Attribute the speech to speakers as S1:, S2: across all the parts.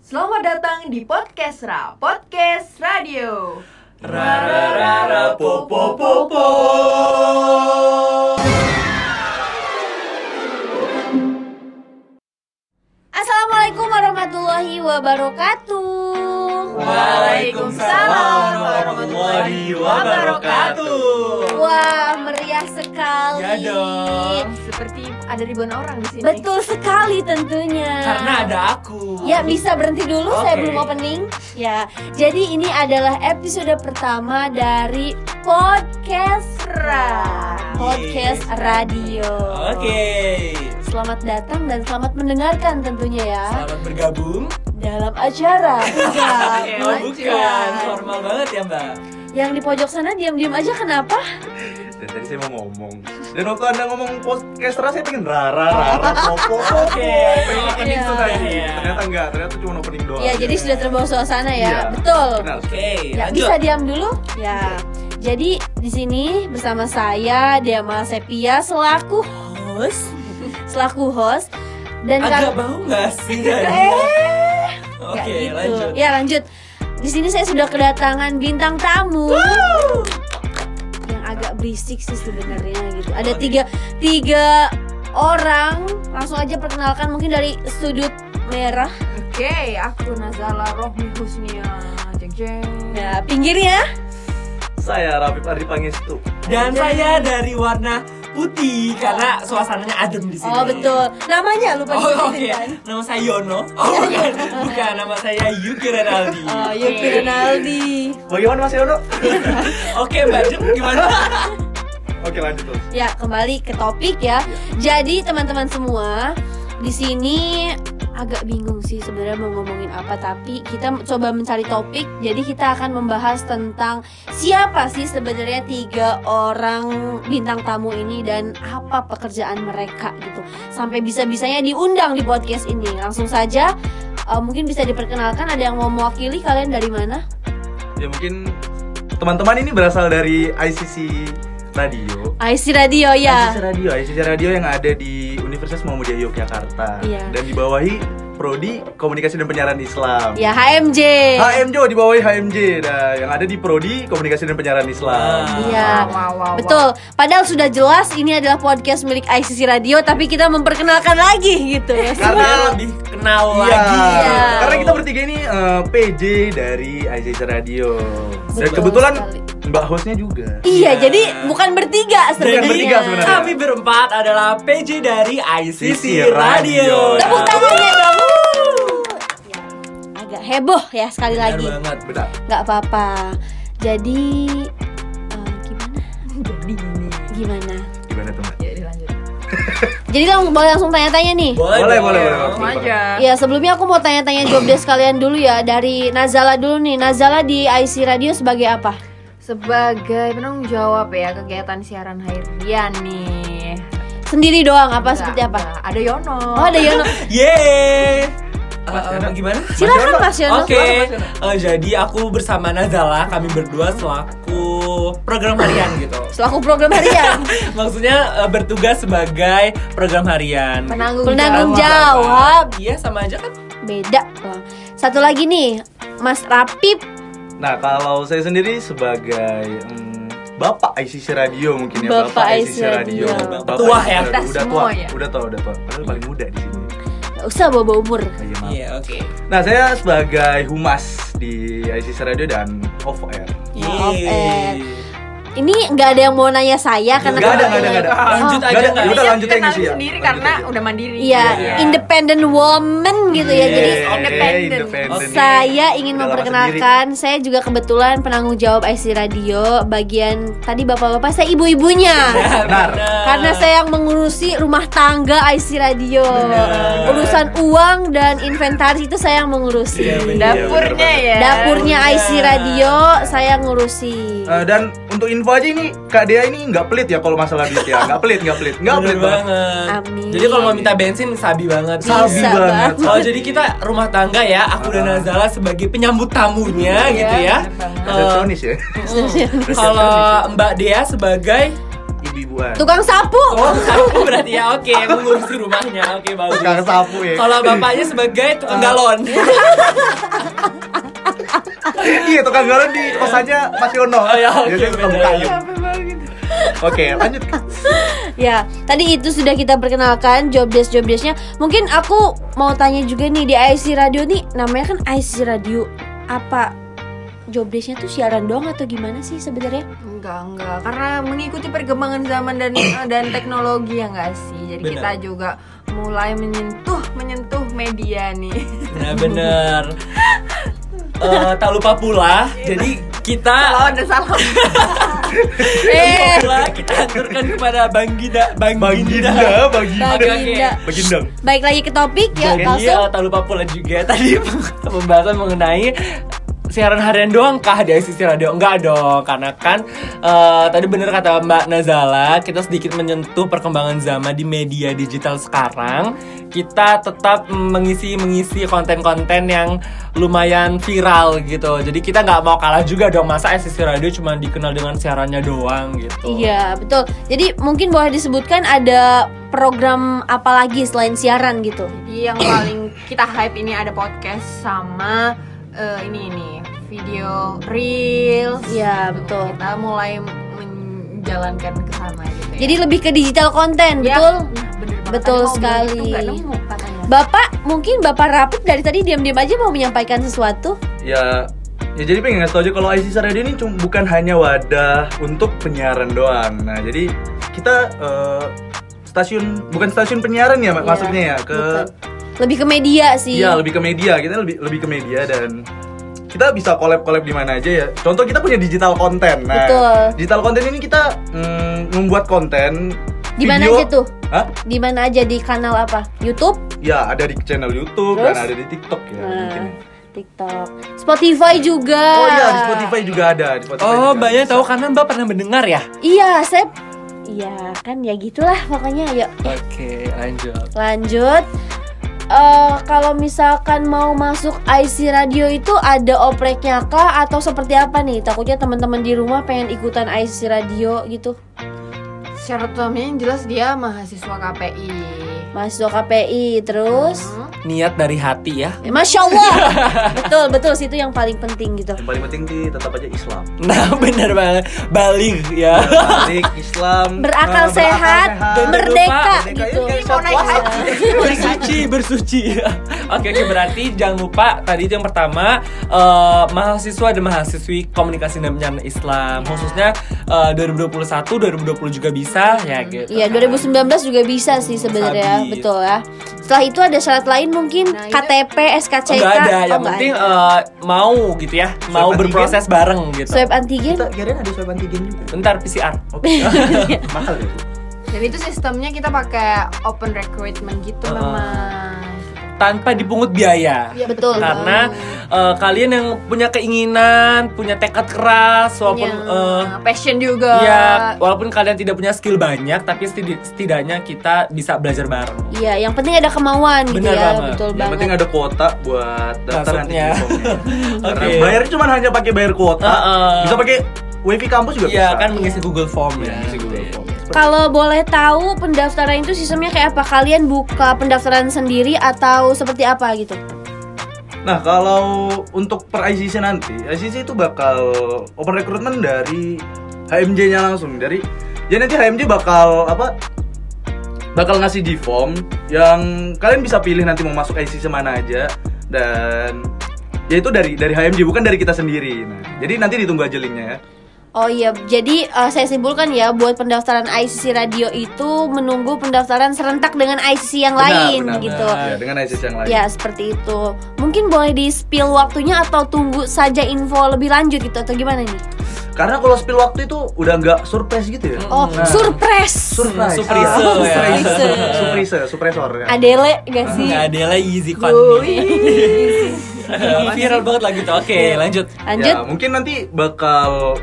S1: Selamat datang di Podcast Ra, Podcast Radio.
S2: Ra ra ra ra po po po po.
S3: Assalamualaikum warahmatullahi wabarakatuh.
S2: Waalaikumsalam warahmatullahi wabarakatuh.
S3: Wah, meriah sekali.
S2: Ya dong.
S1: Seperti ada ribuan orang di sini.
S3: Betul sekali tentunya.
S2: Karena ada aku.
S3: Ya bisa berhenti dulu saya
S2: Oke.
S3: belum opening. Ya. Jadi ini adalah episode pertama dari podcast Ra. Podcast radio.
S2: Oke.
S3: Selamat datang dan selamat mendengarkan tentunya ya
S2: Selamat bergabung.
S3: dalam acara.
S1: Oke,
S2: Oh,
S3: Enggak,
S2: bukan
S3: bukan.
S2: formal banget ya Mbak.
S3: Yang di pojok sana diam-diam aja kenapa?
S4: Dan tadi saya mau ngomong Dan waktu anda ngomong podcast rasa saya pengen rara rara popo
S2: Oke.
S4: Pengen opening tuh tadi
S2: Iya.
S4: Ternyata enggak, ternyata cuma opening doang
S3: Ya, jadi sudah terbawa suasana ya.
S4: Iya,
S3: Betul.
S4: Benar
S2: Oke,
S3: Ya,
S2: Iya. lanjut.
S3: bisa diam dulu? Ya. Jadi di sini bersama saya Demal Sepia selaku host, selaku host dan
S2: Agak
S3: kar-
S2: bau nggak sih?
S3: Eh, Nggak
S2: Oke,
S3: gitu.
S2: lanjut.
S3: Ya, lanjut. Di sini saya sudah kedatangan bintang tamu. Yang agak berisik sih sebenarnya gitu. Ada tiga tiga orang. Langsung aja perkenalkan mungkin dari sudut merah.
S1: Oke, aku Nazala Rohmi Husnia. Jeng jeng.
S3: Nah, pinggirnya.
S4: Saya Rafif Ardi Pangestu
S2: Dan saya dari warna putih karena suasananya adem di sini.
S3: Oh, betul. Namanya lupa
S2: Oh, oke.
S3: disebutin kan?
S2: Nama saya Yono. Oh, bukan. Bukan, nama saya Yuki Renaldi.
S3: Oh, Yuki Rinaldi.
S4: Bagaimana Mas Yono?
S2: Oke, Mbak Jem, gimana?
S4: Oke lanjut terus
S3: Ya, kembali ke topik
S2: Iya.
S3: ya. Jadi, teman-teman semua, di sini agak bingung sih sebenarnya mau ngomongin apa tapi kita coba mencari topik. Jadi, kita akan membahas tentang siapa sih sebenarnya tiga orang bintang tamu ini dan apa pekerjaan mereka gitu. Sampai bisa-bisanya diundang di podcast ini. Langsung saja eh, mungkin bisa diperkenalkan ada yang mau mewakili kalian dari mana?
S4: Ya mungkin teman-teman ini berasal dari ICC Radio
S3: IC Radio ya.
S2: Iya.
S4: ICC Radio, ICC Radio yang ada di Universitas Muhammadiyah Yogyakarta
S3: Iya.
S4: Dan dibawahi Prodi Komunikasi dan Penyiaran Islam
S3: Ya HMJ.
S4: HMJ di bawah HMJ nah, yang ada di Prodi Komunikasi dan Penyiaran Islam.
S2: Ah.
S3: Iya.
S1: Wow, wow, wow.
S3: Betul. Padahal sudah jelas ini adalah podcast milik ICC Radio, tapi kita memperkenalkan lagi gitu.
S2: Karena lebih kenal
S4: Iya.
S2: lagi.
S3: Iya.
S4: Karena kita bertiga ini eh, PJ dari ICC Radio. Dan
S3: Betul
S4: kebetulan
S3: sekali.
S4: Mbak hostnya juga.
S3: Iya, jadi bukan bertiga sebenarnya.
S4: kan bertiga sebenarnya.
S2: Kami berempat adalah PJ dari ICC
S4: ICC Radio.
S2: Radio.
S3: Tepuk tangannya dong. Ya, agak heboh ya sekali
S2: Benar
S3: lagi.
S2: banget.
S4: Benar.
S3: nggak apa-apa. Jadi eh, gimana?
S1: Jadi ini.
S3: Gimana?
S4: Gimana tuh Mbak?
S1: Ya, dilanjut.
S3: Jadi lang- boleh langsung tanya-tanya nih.
S4: Boleh, boleh, boleh, boleh.
S1: Langsung aja.
S3: Ya sebelumnya aku mau tanya-tanya jobdesk kalian dulu ya dari Nazala dulu nih. Nazala di IC Radio sebagai apa?
S1: Sebagai penanggung jawab ya kegiatan siaran harian nih.
S3: Sendiri doang apa
S1: Enggak,
S3: seperti apa?
S1: enggak. Ada Yono.
S3: Oh ada Yono.
S2: Yeay.
S4: Mas
S2: Eh,
S4: Yono.
S2: gimana?
S3: Silakan Mas Yono.
S2: Oke, eh, jadi aku bersama Nazala, kami berdua selaku program harian gitu.
S3: Selaku program ya. harian.
S2: Maksudnya eh, bertugas sebagai program harian.
S1: Penanggung,
S3: Penanggung
S1: jawab.
S3: jawab.
S2: Iya sama aja kan.
S3: Beda. Wah. Satu lagi nih, Mas Rapip.
S4: Nah, kalau saya sendiri sebagai mm, Bapak ICC Radio mungkin ya
S3: Bapak ICC Radio.
S4: Bapak
S2: Tua
S4: ICC
S2: ya.
S4: Radio.
S1: Kita
S4: Udah
S1: semua
S4: tua,
S1: ya.
S4: udah tua, udah tua. Padahal paling muda di sini.
S3: Gak usah bawa umur.
S4: Aja maaf.
S2: Iya, oke.
S4: Nah, saya sebagai humas di ICC Radio dan off air.
S3: Ya, off
S2: Yeay.
S3: air. Ini nggak ada yang mau nanya saya karena
S4: Nggak
S3: kemarin-
S4: ada, nggak ada, nggak ada.
S2: Lanjut aja
S4: Nggak ada,
S2: nggak?
S4: ya udah
S1: Iya,
S4: lanjut aja
S1: kenalin
S4: ngisi ya.
S1: sendiri
S4: Lanjut
S1: karena
S4: aja.
S1: udah mandiri.
S3: Iya,
S2: Iya.
S3: independent woman gitu ya. Jadi
S4: Yeay,
S1: independen.
S4: independen.
S3: saya ingin
S4: Iya, Udah lama
S3: memperkenalkan, saya juga kebetulan penanggung jawab IC Radio bagian tadi bapak-bapak saya ibu-ibunya.
S2: Ya,
S4: Benar.
S3: Karena saya yang mengurusi rumah tangga IC Radio.
S2: Benar.
S3: Urusan uang dan inventaris itu saya yang mengurusi.
S2: Iya, benar.
S1: Dapurnya ya.
S3: Dapurnya
S2: Iya.
S3: IC Radio saya ngurusi.
S4: Eh, dan untuk info aja ini Kak Dea ini nggak pelit ya kalau masalah duit ya nggak pelit nggak pelit nggak
S2: Bener
S4: pelit banget
S2: banget.
S3: Amin.
S2: Jadi kalau mau minta bensin sabi banget.
S3: Bisa
S4: Sabi banget.
S2: Oh, jadi kita rumah tangga ya. Aku dan Nazala sebagai penyambut tamunya
S3: Iya,
S2: gitu ya.
S1: bener banget.
S2: Eh,
S4: resepsionis ya
S2: Kalau Mbak Dea sebagai
S4: ibu-ibuan.
S3: Tukang sapu.
S2: Oh, sapu berarti ya. Oke, mengurusi rumahnya. Oke, bagus.
S4: Tukang sapu ya.
S2: Kalau bapaknya sebagai tukang galon.
S4: iya tukang galon di kosannya Mas Yono.
S2: Oh, ya, oke,
S4: Jadi tukang
S2: beda.
S4: kayu. Oke, lanjut.
S3: Ya, tadi itu sudah kita perkenalkan job desk job desknya. Mungkin aku mau tanya juga nih di IC Radio nih, namanya kan IC Radio. Apa job desknya tuh siaran doang atau gimana sih sebenarnya?
S1: Enggak, enggak. Karena mengikuti perkembangan zaman dan eh, dan teknologi ya enggak sih. Jadi
S2: Benar.
S1: kita juga mulai menyentuh menyentuh media nih.
S2: Nah, bener. Eh, tak lupa pula, jadi
S1: Kalau
S2: kita
S1: ada salah.
S2: lupa
S3: Eh,
S2: pula kita aturkan kepada Bang Gida, Bang, Ginda.
S4: Baginda, Baginda.
S3: Baginda.
S4: Baginda.
S3: Baik lagi ke topik ya,
S2: Jadi
S3: langsung.
S2: eh, tak lupa pula juga tadi pembahasan mengenai siaran harian doang kah di ICC Radio? Enggak dong, karena kan eh, tadi bener kata Mbak Nazala, kita sedikit menyentuh perkembangan zaman di media digital sekarang. Kita tetap mengisi mengisi konten-konten yang lumayan viral gitu. Jadi kita nggak mau kalah juga dong masa ICC Radio cuma dikenal dengan siarannya doang gitu.
S3: Iya, betul. Jadi mungkin boleh disebutkan ada program apa lagi selain siaran gitu.
S1: Jadi yang paling kita hype ini ada podcast sama eh, ini ini video reels.
S3: Iya, betul.
S1: Kita mulai menjalankan ke sana gitu. ya.
S3: Jadi lebih ke digital konten,
S1: Ya,
S3: betul?
S1: nah, bener banget.
S3: Betul
S1: Tadi mau bilang itu
S3: sekali.
S1: nggak nemu katanya.
S3: Bapak, mungkin Bapak Rapik dari tadi diam-diam aja mau menyampaikan sesuatu?
S4: Ya Ya jadi pengen ngasih tau aja kalau ICC Radio ini cuma bukan hanya wadah untuk penyiaran doang. Nah jadi kita eh, stasiun bukan stasiun penyiaran ya mak-
S3: Iya,
S4: maksudnya ya ke
S3: bukan. Lebih ke media sih.
S4: Iya lebih ke media kita lebih lebih ke media dan kita bisa collab collab di mana aja ya. Contoh kita punya digital konten. Nah,
S3: Betul.
S4: digital konten ini kita mm, membuat konten
S3: Di mana
S4: video-
S3: aja tuh?
S4: Hah?
S3: Di mana aja di kanal apa? YouTube,
S4: Ya ada di channel YouTube
S3: Terus?
S4: dan ada di TikTok ya.
S3: Nah,
S4: mungkin.
S3: TikTok, Spotify juga.
S4: Oh iya di Spotify juga ada. Di Spotify
S2: Oh,
S4: juga
S2: Mbaknya
S4: bisa.
S2: tahu karena Mbak pernah mendengar ya?
S3: Iya, saya Iya, kan ya gitulah pokoknya. Ayo
S2: Oke, lanjut.
S3: lanjut. Eh, kalau misalkan mau masuk IC radio itu ada opreknya kah atau seperti apa nih? Takutnya teman-teman di rumah pengen ikutan IC radio gitu.
S1: Syarat utamanya yang jelas dia mahasiswa KPI.
S3: Masuk KPI terus.
S1: Hmm.
S2: Niat dari hati ya.
S3: Eh, Masya Allah. betul, betul situ yang paling penting gitu.
S4: Yang paling penting sih tetap aja Islam.
S2: Nah bener banget Balik ya
S4: Balik Islam.
S3: Berakal
S4: eh,
S3: sehat,
S2: Dan lupa,
S3: merdeka
S4: merdeka,
S3: gitu.
S4: iya,
S1: Mau naik
S4: Puasa.
S1: haji.
S2: Bersuci Bersuci Oke oke berarti jangan lupa Tadi itu yang pertama eh, Mahasiswa dan mahasiswi komunikasi dan penyiaran Islam Khususnya eh, 2021 2020 juga bisa ya gitu
S3: Iya,
S2: kan.
S3: 2019 juga bisa sih sebenarnya,
S2: Sabi.
S3: betul ya. Setelah itu ada syarat lain mungkin
S1: Nah, itu-
S3: KTP, SKCK.
S2: Oh, nggak ada
S3: Oh,
S2: Yang
S3: nggak
S2: penting
S3: ada.
S2: eh, mau gitu ya Mau
S4: antigen?
S2: berproses bareng gitu
S3: swab antigen.
S4: Kita kirain ada swab antigen juga.
S2: Bentar PCR
S4: Oke. Mahal ya.
S1: Jadi itu sistemnya kita pakai open recruitment gitu
S2: Uh-uh.
S1: memang.
S2: Tanpa dipungut biaya
S1: Ya,
S3: Iya, Betul.
S2: Karena eh, kalian yang punya keinginan, punya tekad keras, walaupun
S3: Iya.
S1: Punya
S2: eh,
S1: Ah, passion juga.
S2: Ya, walaupun kalian tidak punya skill banyak, tapi setidi- setidaknya kita bisa belajar bareng.
S3: Iya, yang penting ada kemauan gitu
S2: Benar
S3: ya,
S2: banget.
S3: betul
S4: Yang
S3: banget.
S4: penting ada kuota buat daftar nanti
S2: Masuknya.
S4: Telkomnya. Karena
S2: Oke.
S4: bayar cuma hanya pakai bayar kuota.
S2: Heeh.
S4: Bisa pakai wifi kampus juga
S2: Iya,
S4: bisa.
S2: kan mengisi Google Form
S4: Iya,
S2: ya.
S4: bisa Google Form.
S3: Kalau boleh tahu pendaftaran itu sistemnya kayak apa? Kalian buka pendaftaran sendiri atau seperti apa gitu?
S4: Nah, kalau untuk per ICC nanti, ICC itu bakal open recruitment dari HMJ-nya langsung dari ya nanti HMJ bakal apa? Bakal ngasih di form yang kalian bisa pilih nanti mau masuk ICC mana aja dan ya itu dari dari HMJ bukan dari kita sendiri. Nah, jadi nanti ditunggu aja linknya ya.
S3: Oh iya, jadi eh, saya simpulkan ya buat pendaftaran ICC Radio itu menunggu pendaftaran serentak dengan ICC yang lain
S4: benar,
S3: gitu.
S4: benar. Ya, dengan ICC yang lain.
S3: Ya seperti itu. Mungkin boleh di spill waktunya atau tunggu saja info lebih lanjut gitu atau gimana nih?
S4: Karena kalau spill waktu itu udah nggak surprise gitu ya.
S3: Oh
S4: Nah,
S3: surprise.
S4: surprise.
S2: Surprise, ya.
S4: Ah, surprise. Surprise, surpresor ya.
S3: Adele gak sih?
S2: Nggak ada lah easy con. Viral banget lagi tuh. Oke,
S4: Iya.
S2: lanjut.
S3: Lanjut.
S4: Ya, mungkin nanti bakal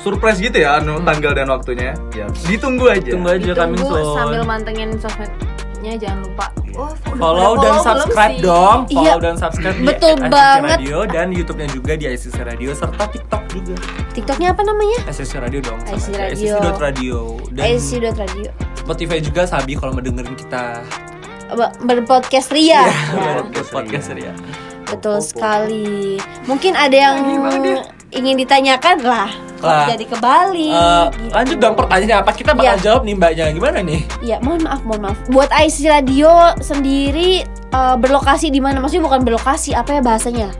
S4: surprise gitu ya anu tanggal dan waktunya. Ya, ditunggu aja.
S2: Tunggu aja kami
S1: Ditunggu
S2: soon.
S1: sambil mantengin sosmed follow-nya jangan lupa. Oh, udah
S2: Follow
S1: pada
S2: dan
S1: belum
S2: subscribe
S1: sih?
S2: dong.
S3: Iya,
S2: Follow dan subscribe di
S3: betul
S2: at ICC
S3: banget.
S2: Radio dan YouTube-nya juga di ICC Radio serta TikTok juga.
S3: TikToknya apa namanya?
S2: ICC Radio dong. sama
S3: ICC
S2: aja,
S3: Radio.
S2: ICC Radio. Dan
S3: ICC.radio
S2: Spotify juga Sabi kalau mendengarin kita
S3: Apa, Berpodcast Ria Ya.
S2: podcast podcast ya.
S3: Betul sekali. Mungkin ada yang ingin ditanyakan lah. Kok
S2: Lah.
S3: jadi ke Bali.
S2: Eh,
S3: Gitu.
S2: lanjut dong pertanyaannya apa kita bakal
S3: Iya.
S2: jawab nih mbaknya gimana nih
S3: Ya, mohon maaf, mohon maaf. Buat IC Radio sendiri eh, berlokasi di mana? Maksudnya bukan berlokasi, apa ya bahasanya?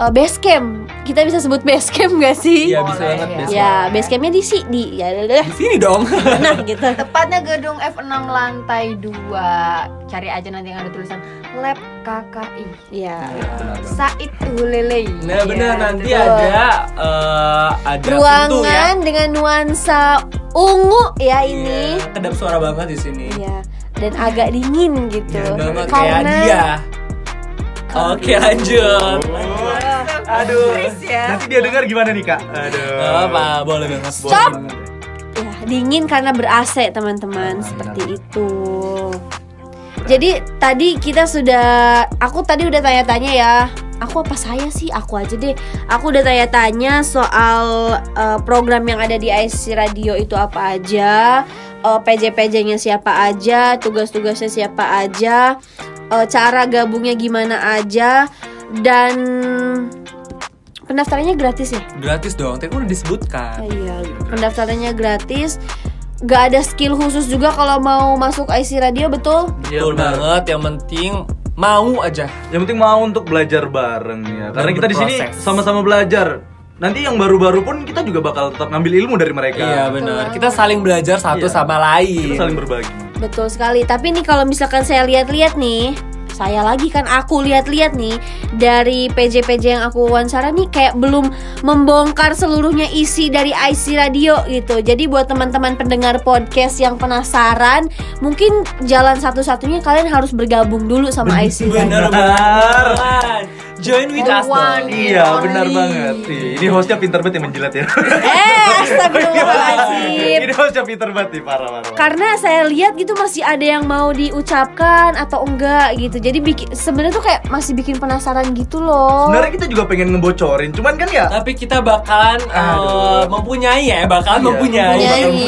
S3: Eh, base camp. Kita bisa sebut base camp gak sih?
S2: Iya
S3: Ya,
S2: bisa
S1: Boleh,
S2: banget
S1: ya.
S2: Bes.
S3: ya base campnya di si di ya udah,
S2: di sini dong
S3: nah gitu.
S1: Tepatnya gedung F6 lantai 2. Cari aja nanti yang ada tulisan Lab KKI.
S3: Ya.
S1: Said Iya, Hulelei.
S2: nah benar nanti
S3: Iya, betul.
S2: ada eh, ada pintu ya
S3: Ruangan dengan nuansa ungu ya ini.
S2: Iya, kedap suara banget di sini
S3: Iya. Dan agak dingin gitu.
S2: Iya, banget kayak
S3: Karena
S2: dia oke lanjut
S4: Aduh.
S1: Chris ya.
S4: Nanti dia dengar gimana nih, Kak? Aduh.
S2: Gak apa boleh banget
S4: Boleh
S3: Stop.
S4: banget ya.
S3: ya dingin karena ber AC teman-teman seperti itu. Jadi tadi kita sudah aku tadi udah tanya-tanya ya. Aku apa saya sih? Aku aja deh. Aku udah tanya-tanya soal eh, program yang ada di IC Radio itu apa aja, eh, PJ-PJ-nya siapa aja, tugas-tugasnya siapa aja, eh, cara gabungnya gimana aja dan pendaftarannya gratis ya?
S2: gratis dong tadi kan udah disebutkan
S3: Oh iya, pendaftarannya gratis. Gak ada skill khusus juga kalau mau masuk IC Radio betul?
S4: Iya,
S2: betul
S4: benar.
S2: banget yang penting mau aja
S4: Yang penting mau untuk belajar bareng ya. Karena kita di sini
S2: berproses.
S4: sama-sama belajar. Nanti yang baru-baru pun kita juga bakal tetap ngambil ilmu dari mereka.
S2: iya benar kita saling belajar satu
S4: Iya.
S2: sama lain
S4: Kita saling berbagi.
S3: Betul sekali. Tapi nih kalau misalkan saya lihat-lihat nih, saya lagi kan aku lihat-lihat nih dari PJ-PJ yang aku wawancara nih kayak belum membongkar seluruhnya isi dari IC Radio gitu. Jadi buat teman-teman pendengar podcast yang penasaran, mungkin jalan satu-satunya kalian harus bergabung dulu sama IC Radio.
S2: benar banget join with us dong
S1: One.
S4: Iya,
S1: Only.
S4: benar banget. Ih, Ini hostnya pinter banget yang menjilat ya.
S3: Eh, astagfirullahaladzim.
S4: Ini hostnya pinter banget nih, parah parah. parah.
S3: karena saya lihat gitu masih ada yang mau diucapkan atau enggak gitu jadi bikin sebenarnya tuh kayak masih bikin penasaran gitu loh
S4: Sebenarnya kita juga pengen ngebocorin, cuman kan ya
S2: tapi kita bakalan
S4: Aduh.
S2: eh, mempunyai ya bakalan
S4: Iya.
S2: mempunyai
S3: Nyanyi.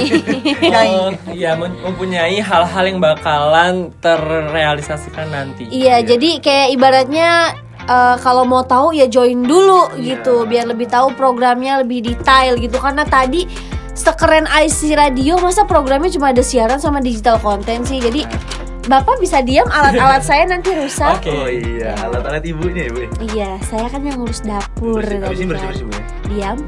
S2: Eh, iya mem- mempunyai hal-hal yang bakalan terrealisasikan nanti
S3: iya jadi kayak ibaratnya eh, kalau mau tahu ya join dulu
S4: Iya.
S3: gitu biar lebih tahu programnya lebih detail gitu karena tadi sekeren IC radio masa programnya cuma ada siaran sama digital konten sih jadi bapak bisa diam alat-alat saya nanti rusak
S2: Oke.
S4: Oh iya, alat-alat ibunya ibu. ya.
S3: Iya, saya kan yang ngurus dapur
S4: Bersih- Habis
S3: tadi
S4: ini
S3: kan.
S4: bersih-bersih bu ya.
S3: diam.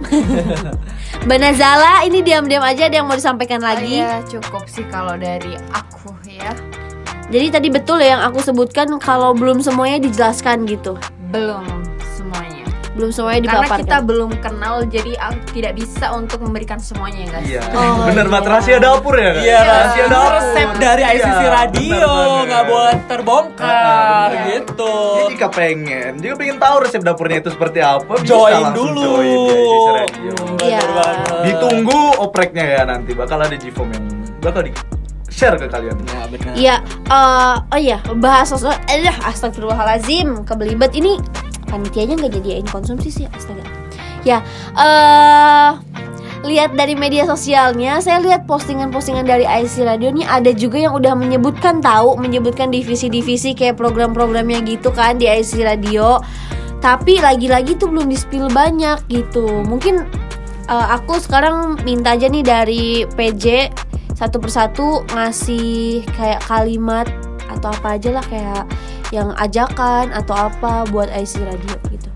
S3: Mbak Nazala, ini diam-diam aja ada yang mau disampaikan lagi.
S1: Iya, cukup sih kalau dari aku ya.
S3: Jadi tadi betul ya yang aku sebutkan kalau belum semuanya dijelaskan gitu.
S1: Belum semuanya.
S3: Belum semuanya
S1: Karena
S3: dipaparkan.
S1: kita belum kenal jadi aku tidak bisa untuk memberikan semuanya ya guys.
S4: Iya.
S3: Oh,
S4: bener banget
S3: iya.
S4: rahasia dapur ya. Kak?
S2: Iya, rahasia
S4: Rahasia dapur.
S2: resep dari
S4: Iya,
S2: ICC Radio
S4: bener banget.
S2: nggak boleh terbongkar
S4: Iya.
S2: gitu.
S4: Jadi jika pengen, jika pengen tahu resep dapurnya itu seperti apa, bisa
S2: Join
S4: langsung
S2: dulu.
S4: Join di ICC Radio.
S3: Iya.
S2: Bener banget.
S4: Ditunggu opreknya ya nanti bakal ada di form yang bakal di share ke kalian.
S2: Ya, bener.
S3: Iya, eh, oh iya, bahas soal eh astagfirullahalazim, kebelibet ini panitianya nggak jadiin konsumsi sih, astaga. Ya, eh lihat dari media sosialnya, saya lihat postingan-postingan dari IC Radio ini ada juga yang udah menyebutkan tahu, menyebutkan divisi-divisi kayak program-programnya gitu kan di IC Radio. Tapi lagi-lagi tuh belum di-spill banyak gitu. Mungkin Eh, aku sekarang minta aja nih dari PJ satu persatu ngasih kayak kalimat atau apa aja lah kayak yang ajakan atau apa buat IC radio gitu.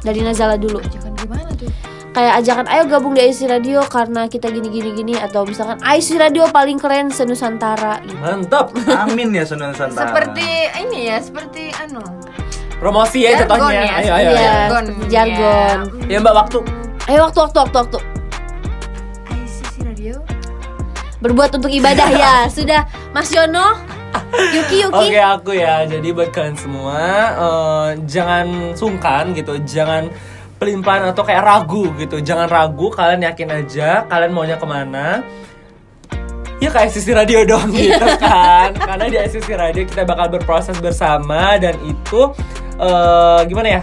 S3: Dari Nazala dulu.
S1: Jangan gimana tuh?
S3: Kayak ajakan ayo gabung di IC radio karena kita gini gini gini atau misalkan IC radio paling keren senusantara gitu.
S2: Mantap.
S4: Amin ya Sunan Nusantara.
S1: Seperti ini ya, seperti anu.
S2: Promosi ya
S1: Jargon
S2: jatuhnya.
S1: ya,
S2: Ayo ayo.
S3: Iya,
S2: ayo.
S1: jargon.
S3: seperti jargon.
S2: Ya Mbak waktu.
S3: Ayo waktu waktu waktu waktu.
S1: Ya. ICC Radio.
S3: Berbuat untuk ibadah ya. Sudah Mas Yono, Yuki Yuki.
S2: Oke aku ya. Jadi buat kalian semua eh, jangan sungkan gitu, jangan pelin-pelan atau kayak ragu gitu. Jangan ragu, kalian yakin aja kalian maunya kemana. ya ke SCC Radio dong gitu kan karena di SCC Radio kita bakal berproses bersama dan itu eh, gimana ya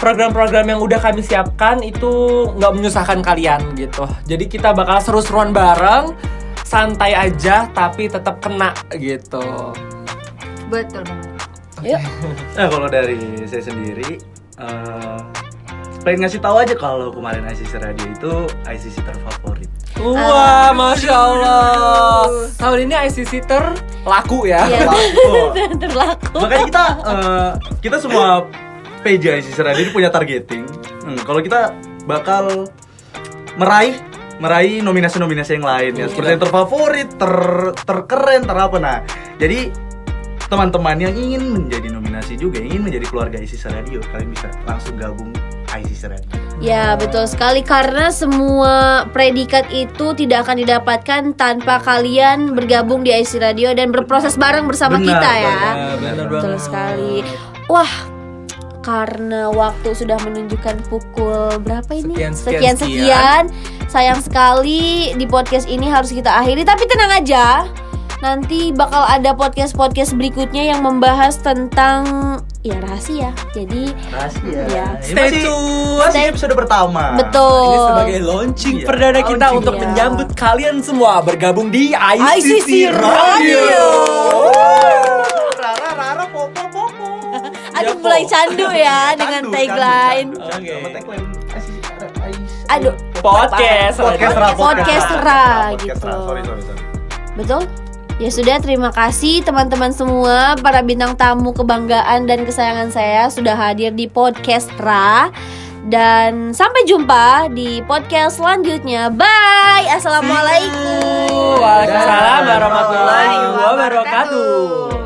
S2: program-program yang udah kami siapkan itu nggak menyusahkan kalian gitu jadi kita bakal seru-seruan bareng santai aja tapi tetap kena gitu
S1: Betul banget.
S3: Yuk.
S4: Nah kalau dari saya sendiri eh, pengen ngasih tahu aja kalau kemarin ICC Radio itu ICC terfavorit.
S2: Wah, masya Allah. Tahun ini ICC terlaku ya.
S3: Iya.
S4: Laku.
S3: Terlaku.
S4: Makanya kita eh, kita semua PJ ICC Radio ini punya targeting. Hmm, kalau kita bakal meraih meraih nominasi-nominasi yang lain ya seperti yang terfavorit, ter terkeren, terapa nah. Jadi teman-teman yang ingin menjadi nominasi juga, yang ingin menjadi keluarga ICC Radio, kalian bisa langsung gabung ICC Radio.
S3: Ya betul sekali karena semua predikat itu tidak akan didapatkan tanpa kalian bergabung di IC Radio dan berproses bareng bersama
S4: Benar,
S3: kita ya.
S4: benar,
S2: Iya, benar
S3: Betul
S2: banget.
S3: sekali. Wah karena waktu sudah menunjukkan pukul berapa ini?
S2: Sekian, sekian,
S3: sekian. sekian. Sayang sekali di podcast ini harus kita akhiri tapi tenang aja. Nanti bakal ada podcast-podcast berikutnya yang membahas tentang ya rahasia. Jadi
S4: Rahasia.
S3: Iya.
S4: Nah, Ini
S2: Stay
S4: masih-
S2: tune.
S4: Masih episode pertama.
S3: betul.
S2: Nah, Ini sebagai launching
S4: Iya,
S2: perdana kita
S4: launching.
S2: untuk
S3: Iya.
S2: menyambut kalian semua bergabung di ICC,
S3: ICC Radio.
S2: Radio.
S4: Rara rara popo popo.
S3: Aduh
S2: Ya, Po.
S3: mulai candu ya dengan
S4: Iya, Candu,
S3: tagline.
S4: candu, candu, candu.
S2: Oke.
S4: Sama tagline Asis- Ais-
S3: Aduh.
S2: Podcast,
S4: Podcast ra,
S3: Podcast
S4: podcast
S3: ra,
S4: ra, podcast
S3: gitu.
S4: ra. Sorry sorry sorry.
S3: Betul? Ya sudah terima kasih teman-teman semua para bintang tamu kebanggaan dan kesayangan saya sudah hadir di podcast Ra dan sampai jumpa di podcast selanjutnya. Bye. Assalamualaikum.
S2: Waalaikumsalam warahmatullahi wabarakatuh.